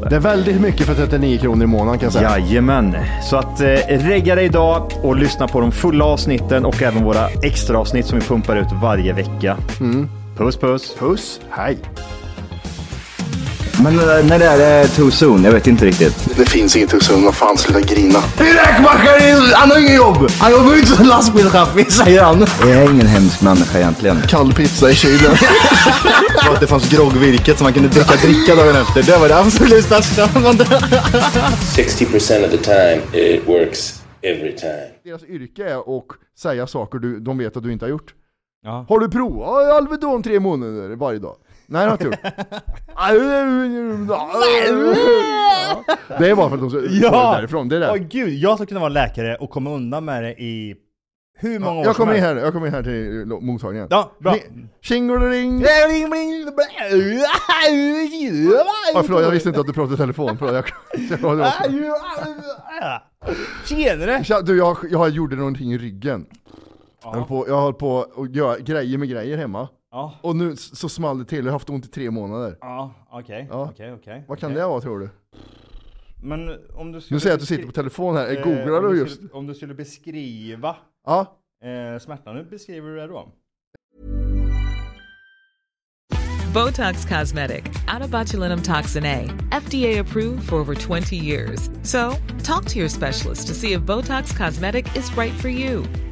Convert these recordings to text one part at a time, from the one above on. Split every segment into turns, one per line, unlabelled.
det.
Det är väldigt mycket för 39 kronor i månaden kan jag säga.
Jajamän, så att eh, regga dig idag och lyssna på de fulla avsnitten och även våra extra avsnitt som vi pumpar ut varje vecka. Puss puss.
Mm. Puss, hej.
Men när det är eh, too soon? Jag vet inte riktigt.
Det finns inget Husum, vad fan sluta grina.
Räkmackaren, han har inget jobb!
Han jobbar ju inte som lastbilschaffis säger han.
Jag är ingen hemsk människa egentligen.
Kall pizza i kylen.
Och att det fanns groggvirket som man kunde dricka dricka dagen efter. Det var det absolut bästa.
60% of the time, it works every time.
Deras yrke är att säga saker du, de vet att du inte har gjort.
Ja.
Har du provat Alvedon tre månader varje dag? Nej det har jag inte gjort. ja. Det är bara för att de ska få det därifrån. Det är
Åh
det.
gud, jag skulle kunna vara läkare och komma undan med det i hur många år
Jag kommer
som
in
helst.
här, jag kommer in här till lo- mottagningen.
Ja, bra.
Ni- Tjingeling! Ah,
Ah,
förlåt, jag visste inte att du pratade i telefon. Förlåt, jag, jag pratade också.
Tjenare!
Tja, du, jag, jag gjorde någonting i ryggen. Jag höll på, jag höll på att göra grejer med grejer hemma.
Ja,
Och nu s- så small det till, jag har haft ont i tre månader.
ja, okej,
Ja.
okej, okej.
Vad kan
okej.
det vara tror du?
Men om du skulle...
Nu säger jag att du sitter på telefon här,
eh,
jag googlar
om
du just?
Skulle, om du skulle beskriva
Ja,
eh, smärtan, hur beskriver du det då?
Botox Cosmetic, out of botulinum toxin A, FDA approved for over 20 years. So, talk to your specialist to see if Botox Cosmetic is right for you.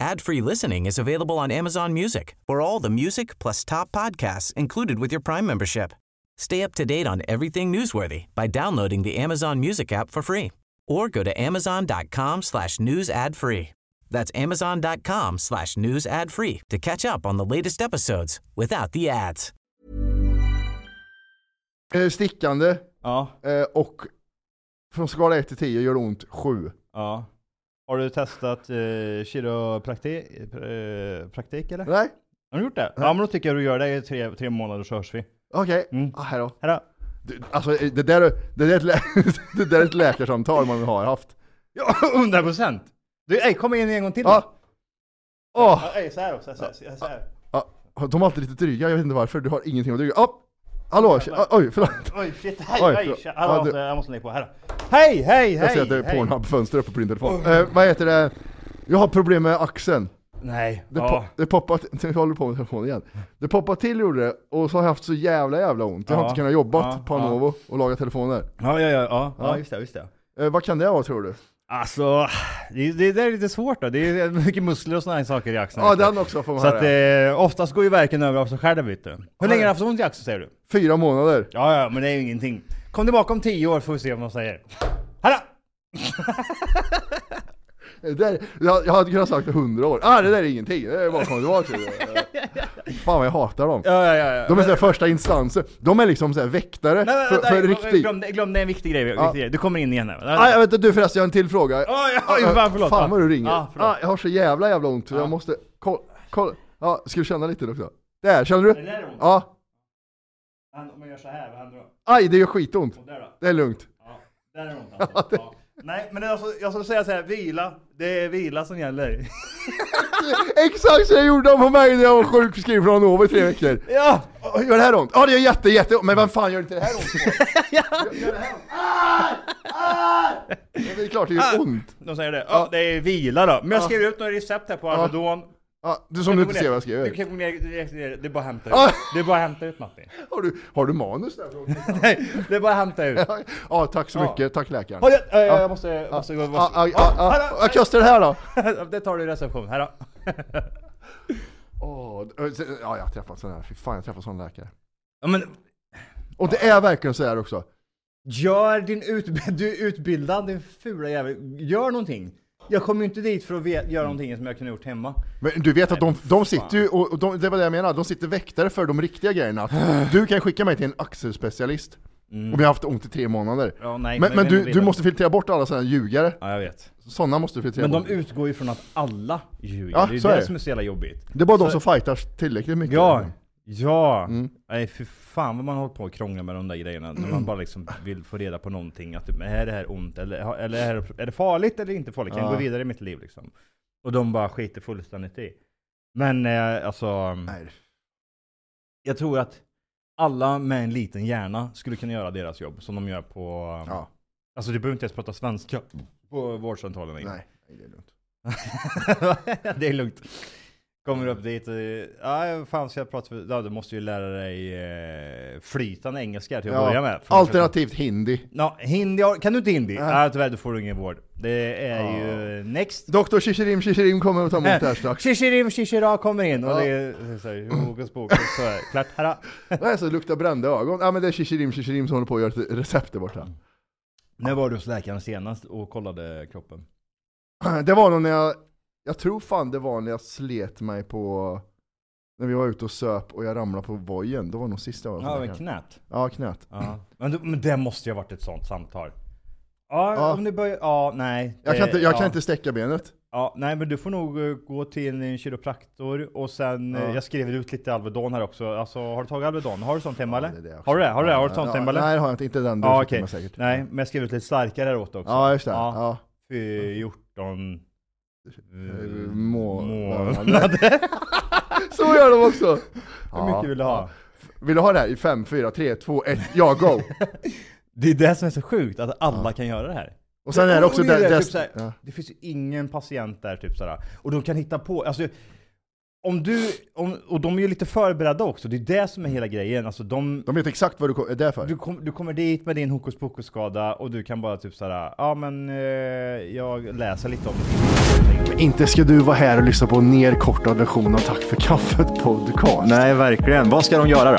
Ad-free listening is available on Amazon Music for all the music plus top podcasts included with your Prime membership. Stay up to date on everything newsworthy by downloading the Amazon Music app for free or go to amazon.com slash news ad free. That's amazon.com slash news ad free to catch up on the latest episodes without the ads.
eh, stickande
Ja,
eh, och från skala 1 till 10 gör det ont 7.
ja. Har du testat eh, kiropraktik eh, praktik, eller?
Nej?
Har du gjort det? Ja, men då tycker jag du gör det i tre, tre månader så hörs vi.
Okej,
Mm.
ah, hejdå.
Här då.
Du, Alltså det där, det, där är ett lä- det där är ett läkarsamtal man har haft.
Ja, 100 procent! Du, ey, kom in en gång till då.
Ja. Åh!
Ja, ey, så här då, så här, så här, så här, så här.
Ja, de är alltid lite dryga, jag vet inte varför. Du har ingenting att dryga. Oh! Hallå! tje- Oj, förlåt.
Oj shit, hej,
Oj,
Oj, hej,
förlåt.
tja.
Ja,
Hallå, jag,
du-
måste, jag måste lägga på, här då. Hej, hej, hej!
Jag ser att det är
hej.
Pornhub-fönster uppe på din telefon. Eh, vad heter det? Jag har problem med axeln.
Nej,
Det, po-
ja.
det poppar till, jag håller på med telefonen igen. Det poppar till gjorde det, och så har jag haft så jävla jävla ont. Jag har
Ja,
inte kunnat jobba
ja,
på Panovo och laga telefoner.
Ja, ja, ja, ja, ja, just det, just det.
Eh, vad kan det vara tror du?
Alltså, det, det där är lite svårt då. Det är mycket muskler och sådana här saker i axeln.
Ja,
vet du.
den också får man
Så att
höra.
eh, oftast går ju verken över av sig själv vet du. Hur länge har du haft ont i axeln säger du?
Fyra månader.
Ja, ja, men det är ju ingenting. Kom tillbaka om 10 år får vi se vad de säger. Här då!
Eh, Det där, jag, jag hade kunnat sagt det hundra år. Ah, det där är ingenting, det är bara att komma tillbaka till det. Eh, Fan vad jag hatar dem.
Ja, ja, ja. ja.
De är såhär första instanser. De är liksom såhär väktare
Nej, men
för,
vänta,
för
glöm-
riktigt.
Glöm, det- glöm det, är en viktig grej. Viktig grej. Du kommer in igen här.
Ah, jag vet inte, du förresten, jag har en till fråga.
Oj, oj,
Ah,
fan, förlåt.
fan vad du ringer.
Ja, förlåt.
ah, jag har så jävla jävla ont, jag måste... Kolla, kolla. Ja, ska du känna lite också? Där, känner du?
Det där är ont.
Ja.
Om jag gör så här, vad händer då?
Aj, det gör skitont.
Och där då?
Det är lugnt.
Ja, där är det ont alltså. Ja. Nej, men alltså, jag skulle säga så här, vila. Det är vila som gäller.
Exakt så jag gjorde de på mig när jag var sjukskriven från Hannover i tre veckor.
Ja!
Åh, Gör det här ont? Ja det gör jätte, jätte Men vem fan gör inte det här ont? på? Gör det här ont? Ah! Ah! Ja, det är klart det
Ah.
gör ont.
De säger det. Ja, det är vila då. Men jag skriver ut några recept här på Alvedon.
Ja, du som du inte ser vad jag
Du
skriver.
kan gå ner direkt ner. Det är bara att hämta
Ah.
ut. Det är bara att hämta ut Matti.
Har du, har du manus där? från-
Nej, det är bara att hämta ut.
Ja, tack så mycket. Tack läkaren.
Oj, jag, jag, jag måste... Jag måste, jag
Ja,
måste.
ja, ja,
ah.
ja. Vad kostar det här då?
Det tar du i reception. Här då.
Åh, d- sen- ja, jag har träffat sådana här. Fy fan, jag har träffat sådana läkare.
Ja, men
Och det är verkligen så här också.
Gör din utbildning, du är utbildad din fula jävel. Gör någonting. Jag kom ju inte dit för att vet, göra någonting som jag kunde gjort hemma.
Men du vet att de, de sitter ju, och och de, det var det jag menade, de sitter väktare för de riktiga grejerna. Du kan skicka mig till en axelspecialist. Om jag har haft ont i tre månader.
Mm. Ja, nej,
men
men-
men
men
du,
jag vet
du
att-
måste filtrera bort alla sådana ljugare.
Ja, jag vet.
Sådana måste du filtrera
Men de
bort.
utgår ju från att alla ljuger.
Ja,
det är ju
Ah, så
det,
är det.
som är så jävla jobbigt.
Det är bara de som fightas tillräckligt mycket.
Ja, ja.
Mm.
Nej för fan vad man håller på och krånglar med de där grejerna. När man bara liksom vill få reda på någonting. Att typ, är det här ont? Eller, eller är, det, är det farligt eller inte farligt? Kan jag gå vidare i mitt liv liksom? Och de bara skiter fullständigt i. Men eh, alltså.
Nej.
Jag tror att alla med en liten hjärna skulle kunna göra deras jobb som de gör på...
Ja.
Alltså du behöver inte ens prata svenska på vårdcentralen längre.
Nej. Nej, det är lugnt.
det är lugnt. Kommer du upp dit och... Ja, vad fan ska jag prata för... Ja, du måste ju lära dig eh, flytande engelska här till att börja med. För-
Alternativt hindi.
Ja, hindi, har- kan du inte hindi? Ja, tyvärr, då får du ingen vård. Det är ju next.
Doktor Shishirim Shishirim kommer att ta emot det här strax.
Shishirim shishira kommer in och
Ja.
det är såhär, hokus pokus, så här, klart, här.
Nej, så luktar brända ögon. Ja men det är Shishirim Shishirim som håller på att göra ett recept där borta.
När var du hos läkaren senast och kollade kroppen?
Det var nog när jag, jag tror fan det var när jag slet mig på, när vi var ute och söp och jag ramlade på vojen. Det var nog sista jag
Ja,
var
men
knät.
knät.
Ja, knät.
Ja. Men, du- men det måste ju ha varit ett sånt samtal. Ja,
Ja.
om du börjar... Ja, nej.
Jag kan
det-
inte, jag
Eh, ja,
kan inte sträcka benet.
Ja, nej, men du får nog eh, gå till en, en kiropraktor och sen... eh, Jag skriver ut lite Alvedon här också. Alltså, har du tagit Alvedon? Har du sånt hemma eller?
det är det också.
har du det? Har du det? Har du sånt
Ja,
hemma eller?
Nej, har jag inte. Inte den du
Ja,
fick
okej.
med säkert.
Nej, men jag skriver ut lite starkare här åt också.
Ja, just det.
Ja.
Ja.
Fy- 14... eh,
Må-
Månader.
Så gör de också!
Hur mycket vill du ha?
Vill du ha det här i 5, 4, 3, 2, 1, ja go!
Det är det som är så sjukt, att alla kan göra det här.
Och sen är det också
Och det,
det,
typ såhär,
det,
det finns ju ingen patient där typ sådär. Och de kan hitta på, alltså om du, om, och de är ju lite förberedda också, det är det som är hela grejen. Alltså de,
de vet exakt vad du ko- är där för.
du, kom, du kommer dit med din hokus pokus skada och du kan bara typ sådär, ja men eh, jag läser lite om det.
Inte ska du vara här och lyssna på en nerkortad version av Tack för kaffet podcast.
Nej, verkligen. Vad ska de göra då?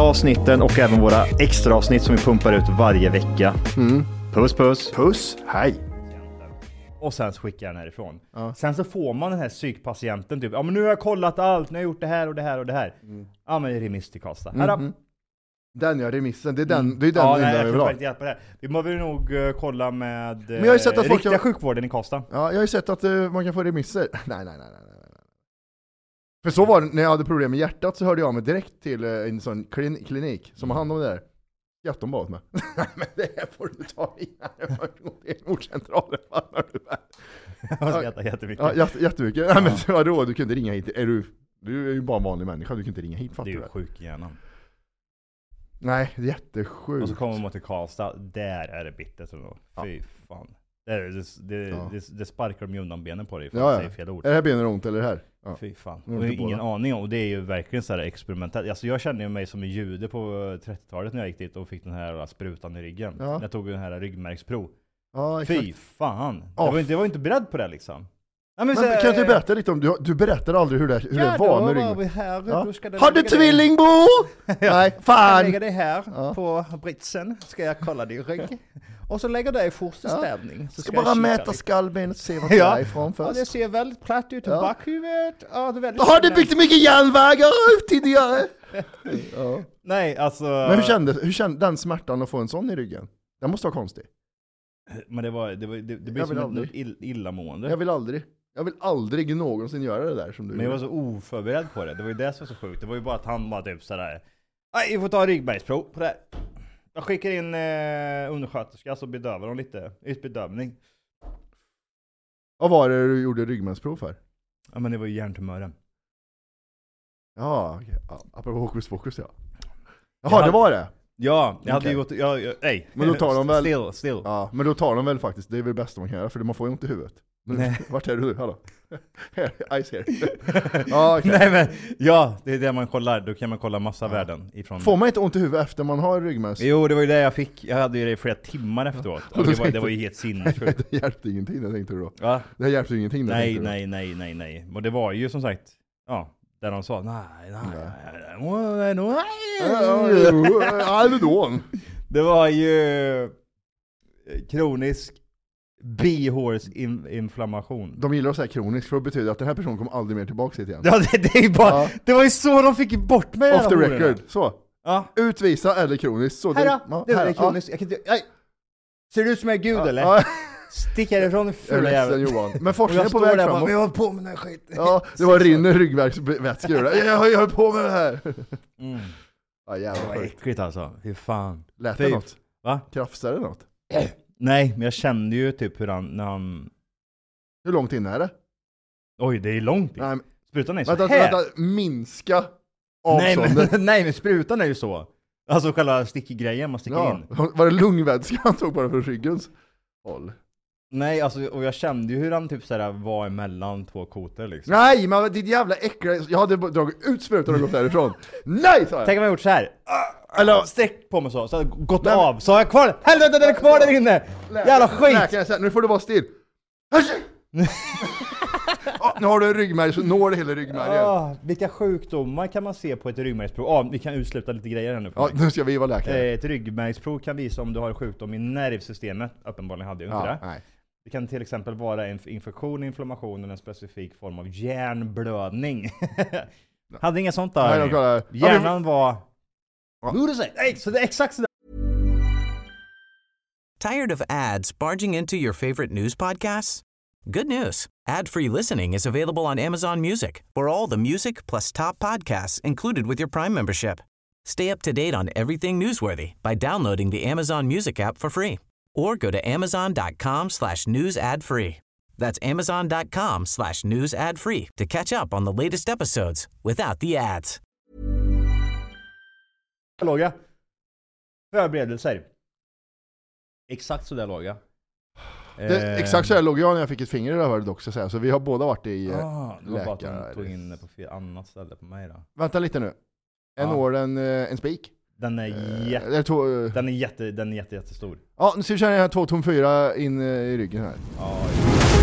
avsnitten och även våra extra avsnitt som vi pumpar ut varje vecka. Puss puss!
Mm. Puss, hej!
Och sen så skickar jag den härifrån. Sen så får man den här psykpatienten typ, ja men nu har jag kollat allt, nu har jag gjort det här och det här och det här.
Mm.
Ja men remiss till Karlstad. Här då.
Den ja, remissen. Det är Mm, den, det är den
Mm.
enda
ja, nej,
jag
jag kan
vill
tyvärr
ha.
inte hjälpa det här. Vi behöver nog eh, kolla med Men
jag har ju sett att folk
riktiga
har-
sjukvården i Karlstad.
Ja, jag har ju sett att eh, man kan få remisser. Nej, nej, nej, nej, nej. nej. För så var det, när jag hade problem med hjärtat så hörde jag mig direkt till eh, en sån klin- klinik som har hand om det där. Skrattar bara åt mig. Nej men det här får du ta innan du har gått till vårdcentralen. Fan, hör du väl?
Jag skrattar jättemycket.
Ja, jätte, jättemycket. Nej men vadå, du kunde ringa hit. Är du, du är ju bara en vanlig människa, du kan inte ringa hit
det
fattar du
är ju
väl?
sjuk i hjärnan.
Nej,
Och så
jättesjukt.
kommer man till Karlstad, där är det bittert ändå. Fy fan. Det, är- det, det,
Ja.
det, det sparkar de ju undan benen på dig ifall
Ja,
du
ja.
säger fel ord.
Är det här benet ont eller det här? Ja.
Fy fan.
Nu är
Och
det
det är ingen
båda.
aning om. Och det är ju verkligen så här experimentellt. Alltså jag kände ju mig som en jude på 30-talet när jag gick dit och fick den här sprutan i ryggen.
Ja.
När Jag tog den här ryggmärgsprov.
Ja, exakt.
Fy fan.
Ja.
Jag, var inte, jag var inte beredd på det liksom. Ja, men,
Men kan inte du berätta lite om, du, du berättar aldrig hur det, hur det var med
Ja, då var vi
Ringbo.
här.
Ja.
Då ska det
Har du
lägga dig-
tvillingbo? Nej,
Jag
fan!
lägger dig här
Ja.
på britsen, ska jag kolla din rygg. Och så lägger jag dig i fosterställning. så
Ska
jag
bara
kika
mäta
lite.
skallbenet och se vad det
Ja.
är ifrån
Ja, det
först.
ser väldigt platt ut i
Ja.
bakhuvudet. Ja, det är väldigt
Har du byggt mycket järnvägar ut tidigare? ja.
Nej, alltså...
Men hur kändes, hur kändes den smärtan att få en sån i ryggen? Den måste vara konstig.
Men det var, det var, det, det blev
Jag vill
som ett
aldrig.
något ill, illamående.
Jag vill aldrig, jag vill aldrig någonsin göra det där som du
Men jag var
gjorde.
så oförberedd på det. Det var ju det som var så sjukt. Det var ju bara att han bara typ sådär. Nej, vi får ta ryggmärgsprov på det här. Jag skickar in eh, undersköterska så bedövar de lite. Ytbedövning.
Vad var det du gjorde ryggmärgsprov för?
Ja men det var ju hjärntumören.
Ja, okej. Ja, apropå hokus pokus ja.
Jag
Jaha,
hade-
det var det?
Ja, jag hade
Okej.
ju gått... Ja, ja, nej.
Men då tar de väl-
Still, still.
Ja, men då tar de väl faktiskt, det är väl det bästa man kan göra, för man får ju ont i huvudet. Men,
Nej.
Vart är du? Hallå? Här, Ice here. Ja, okej.
Nej men, ja det är det man kollar. Då kan man kolla massa värden ifrån...
Får man inte ont i huvudet efter man har ryggmärgs?
Jo, det var ju det jag fick. Jag hade ju det i flera timmar efteråt. Och det, var, det var ju helt sinnessjukt.
Det hjälpte ingenting, det tänkte du då.
Ja.
Det här hjälpte ingenting. det
Nej,
tänkte du då.
nej, nej, nej, nej. Och det var ju som sagt, ja, där de sa nej, nej, nej, nej, nej,
Ja,
nej.
jo, eh, Alvedon.
Det var ju eh, kronisk bihålsinflammation.
De gillar att säga kronisk, för det betyder att den här personen kommer aldrig mer tillbaka hit igen.
Ja, det, det, är ju bara,
Ja.
det var ju så de fick bort mig.
Off the
jävla hororna.
record, så.
Ja.
Utvisa eller kroniskt. Så
Här
ja,
då, nu är
här,
det
ja.
kroniskt. Jag kan inte, nej. Ser du ut som jag är gud
Ja,
eller?
ja.
Stick härifrån din
Jag är
fula
ledsen
jävel.
Johan, men
Och
forskningen är
jag
på
står
väg
där och bara,
framåt.
men jag har på med den här skiten.
Ja, det var rinner ryggvärksvätska ur det. Jag, jag, jag höll på med det här!
Mm.
Ja jävlar
Vad
vad sjukt.
äckligt alltså. Fy fan.
Lät
Fy-
det något?
Typ.
Eh.
Va?
Krafsade det något?
Nej, men jag kände ju typ hur han, när han...
Hur långt in är det?
Oj, det är långt in.
Nej, men-
Sprutan är så
vänta,
här.
vänta, minska
nej,
avståndet.
men, nej, men sprutan är ju så. Alltså själva stickgrejen man sticker
Ja.
in.
Var det lungvätska han tog bara från ryggens håll?
Nej, alltså och jag kände ju hur han typ såhär var emellan två koter liksom.
Nej, men ditt jävla äckliga... Jag hade bara dragit ut sprutan och gått därifrån. Nej sa jag!
Tänk om jag gjort såhär.
Ah, Eller-
Eller sträckt på mig så, så hade jag gått
Nej, men-
av. Så har jag kvar den. Helvete, den är kvar där inne! Jävla skit!
Läkaren sa, nu får du vara still. Hörs! Ja, nu har du en ryggmärg så når det hela ryggmärgen.
Ah, vilka sjukdomar kan man se på ett ryggmärgsprov? Ah, vi kan utesluta lite grejer här nu. för
Ja,
mig.
nu ska vi vara läkare.
Eh, Ett ryggmärgsprov kan visa om du har sjukdom i nervsystemet. Uppenbarligen hade jag ju inte
Ja,
det.
nej.
Det kan till exempel vara en infektion, inflammation eller en specifik form av hjärnblödning. Hade inget sånt där.
Nej, de kollar-
Hjärnan var...
Ja.
Hur du säger? Nej, så det är exakt sådär.
Tired of ads barging into your favorite news podcasts? Good news. Ad-free listening is available on Amazon Music for all the music plus top podcasts included with your Prime membership. Stay up to date on everything newsworthy by downloading the Amazon Music app for free or go to amazon.com slash news ad free. That's amazon.com slash news ad free to catch up on the latest episodes without the ads.
låg jag. Förberedelser. Exakt sådär låg jag.
Det,
Eh,
exakt så här låg jag när jag fick ett finger i rövhålet också, så, här, så vi har båda varit i... eh,
Ah, det var bara att
läkare.
de tog in det på fel annat ställe på mig då.
Vänta lite nu. En
Ja.
nål, en, eh, en spik.
Den är,
Eh,
jätte,
eller två, eh,
den är, jätte, den är jätte, jättestor.
ja, nu ska vi köra den här två tom fyra in eh, i ryggen här.
Ja,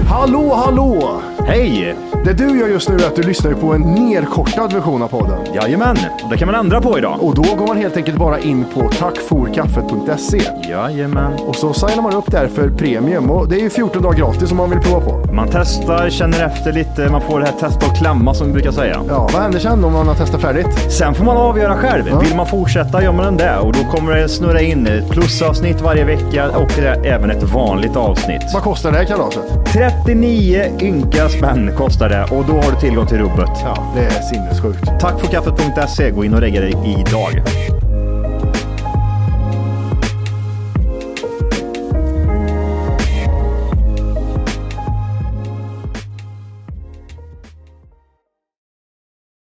Hallå, hallå!
Hej!
Det du gör just nu är att du lyssnar ju på en nerkortad version av podden.
Jajamän, det kan man ändra på idag.
Och då går man helt enkelt bara in på tackforkaffet.se
Jajamän.
och så signar man upp där för premium. Och det är ju 14 dagar gratis om man vill prova på.
Man testar, känner efter lite, man får det här testa och klämma som vi brukar säga.
Ja, vad händer sen om man har testat färdigt?
Sen får man avgöra själv. Vill man fortsätta gör man det och då kommer det snurra in ett plusavsnitt varje vecka och det är även ett vanligt avsnitt.
Vad kostar det här kalaset?
39 ynka spänn kostar det och då har du tillgång till rubbet.
Ja, det är sinnessjukt.
E.
Tack för kaffet.se. Gå in och lägg dig idag.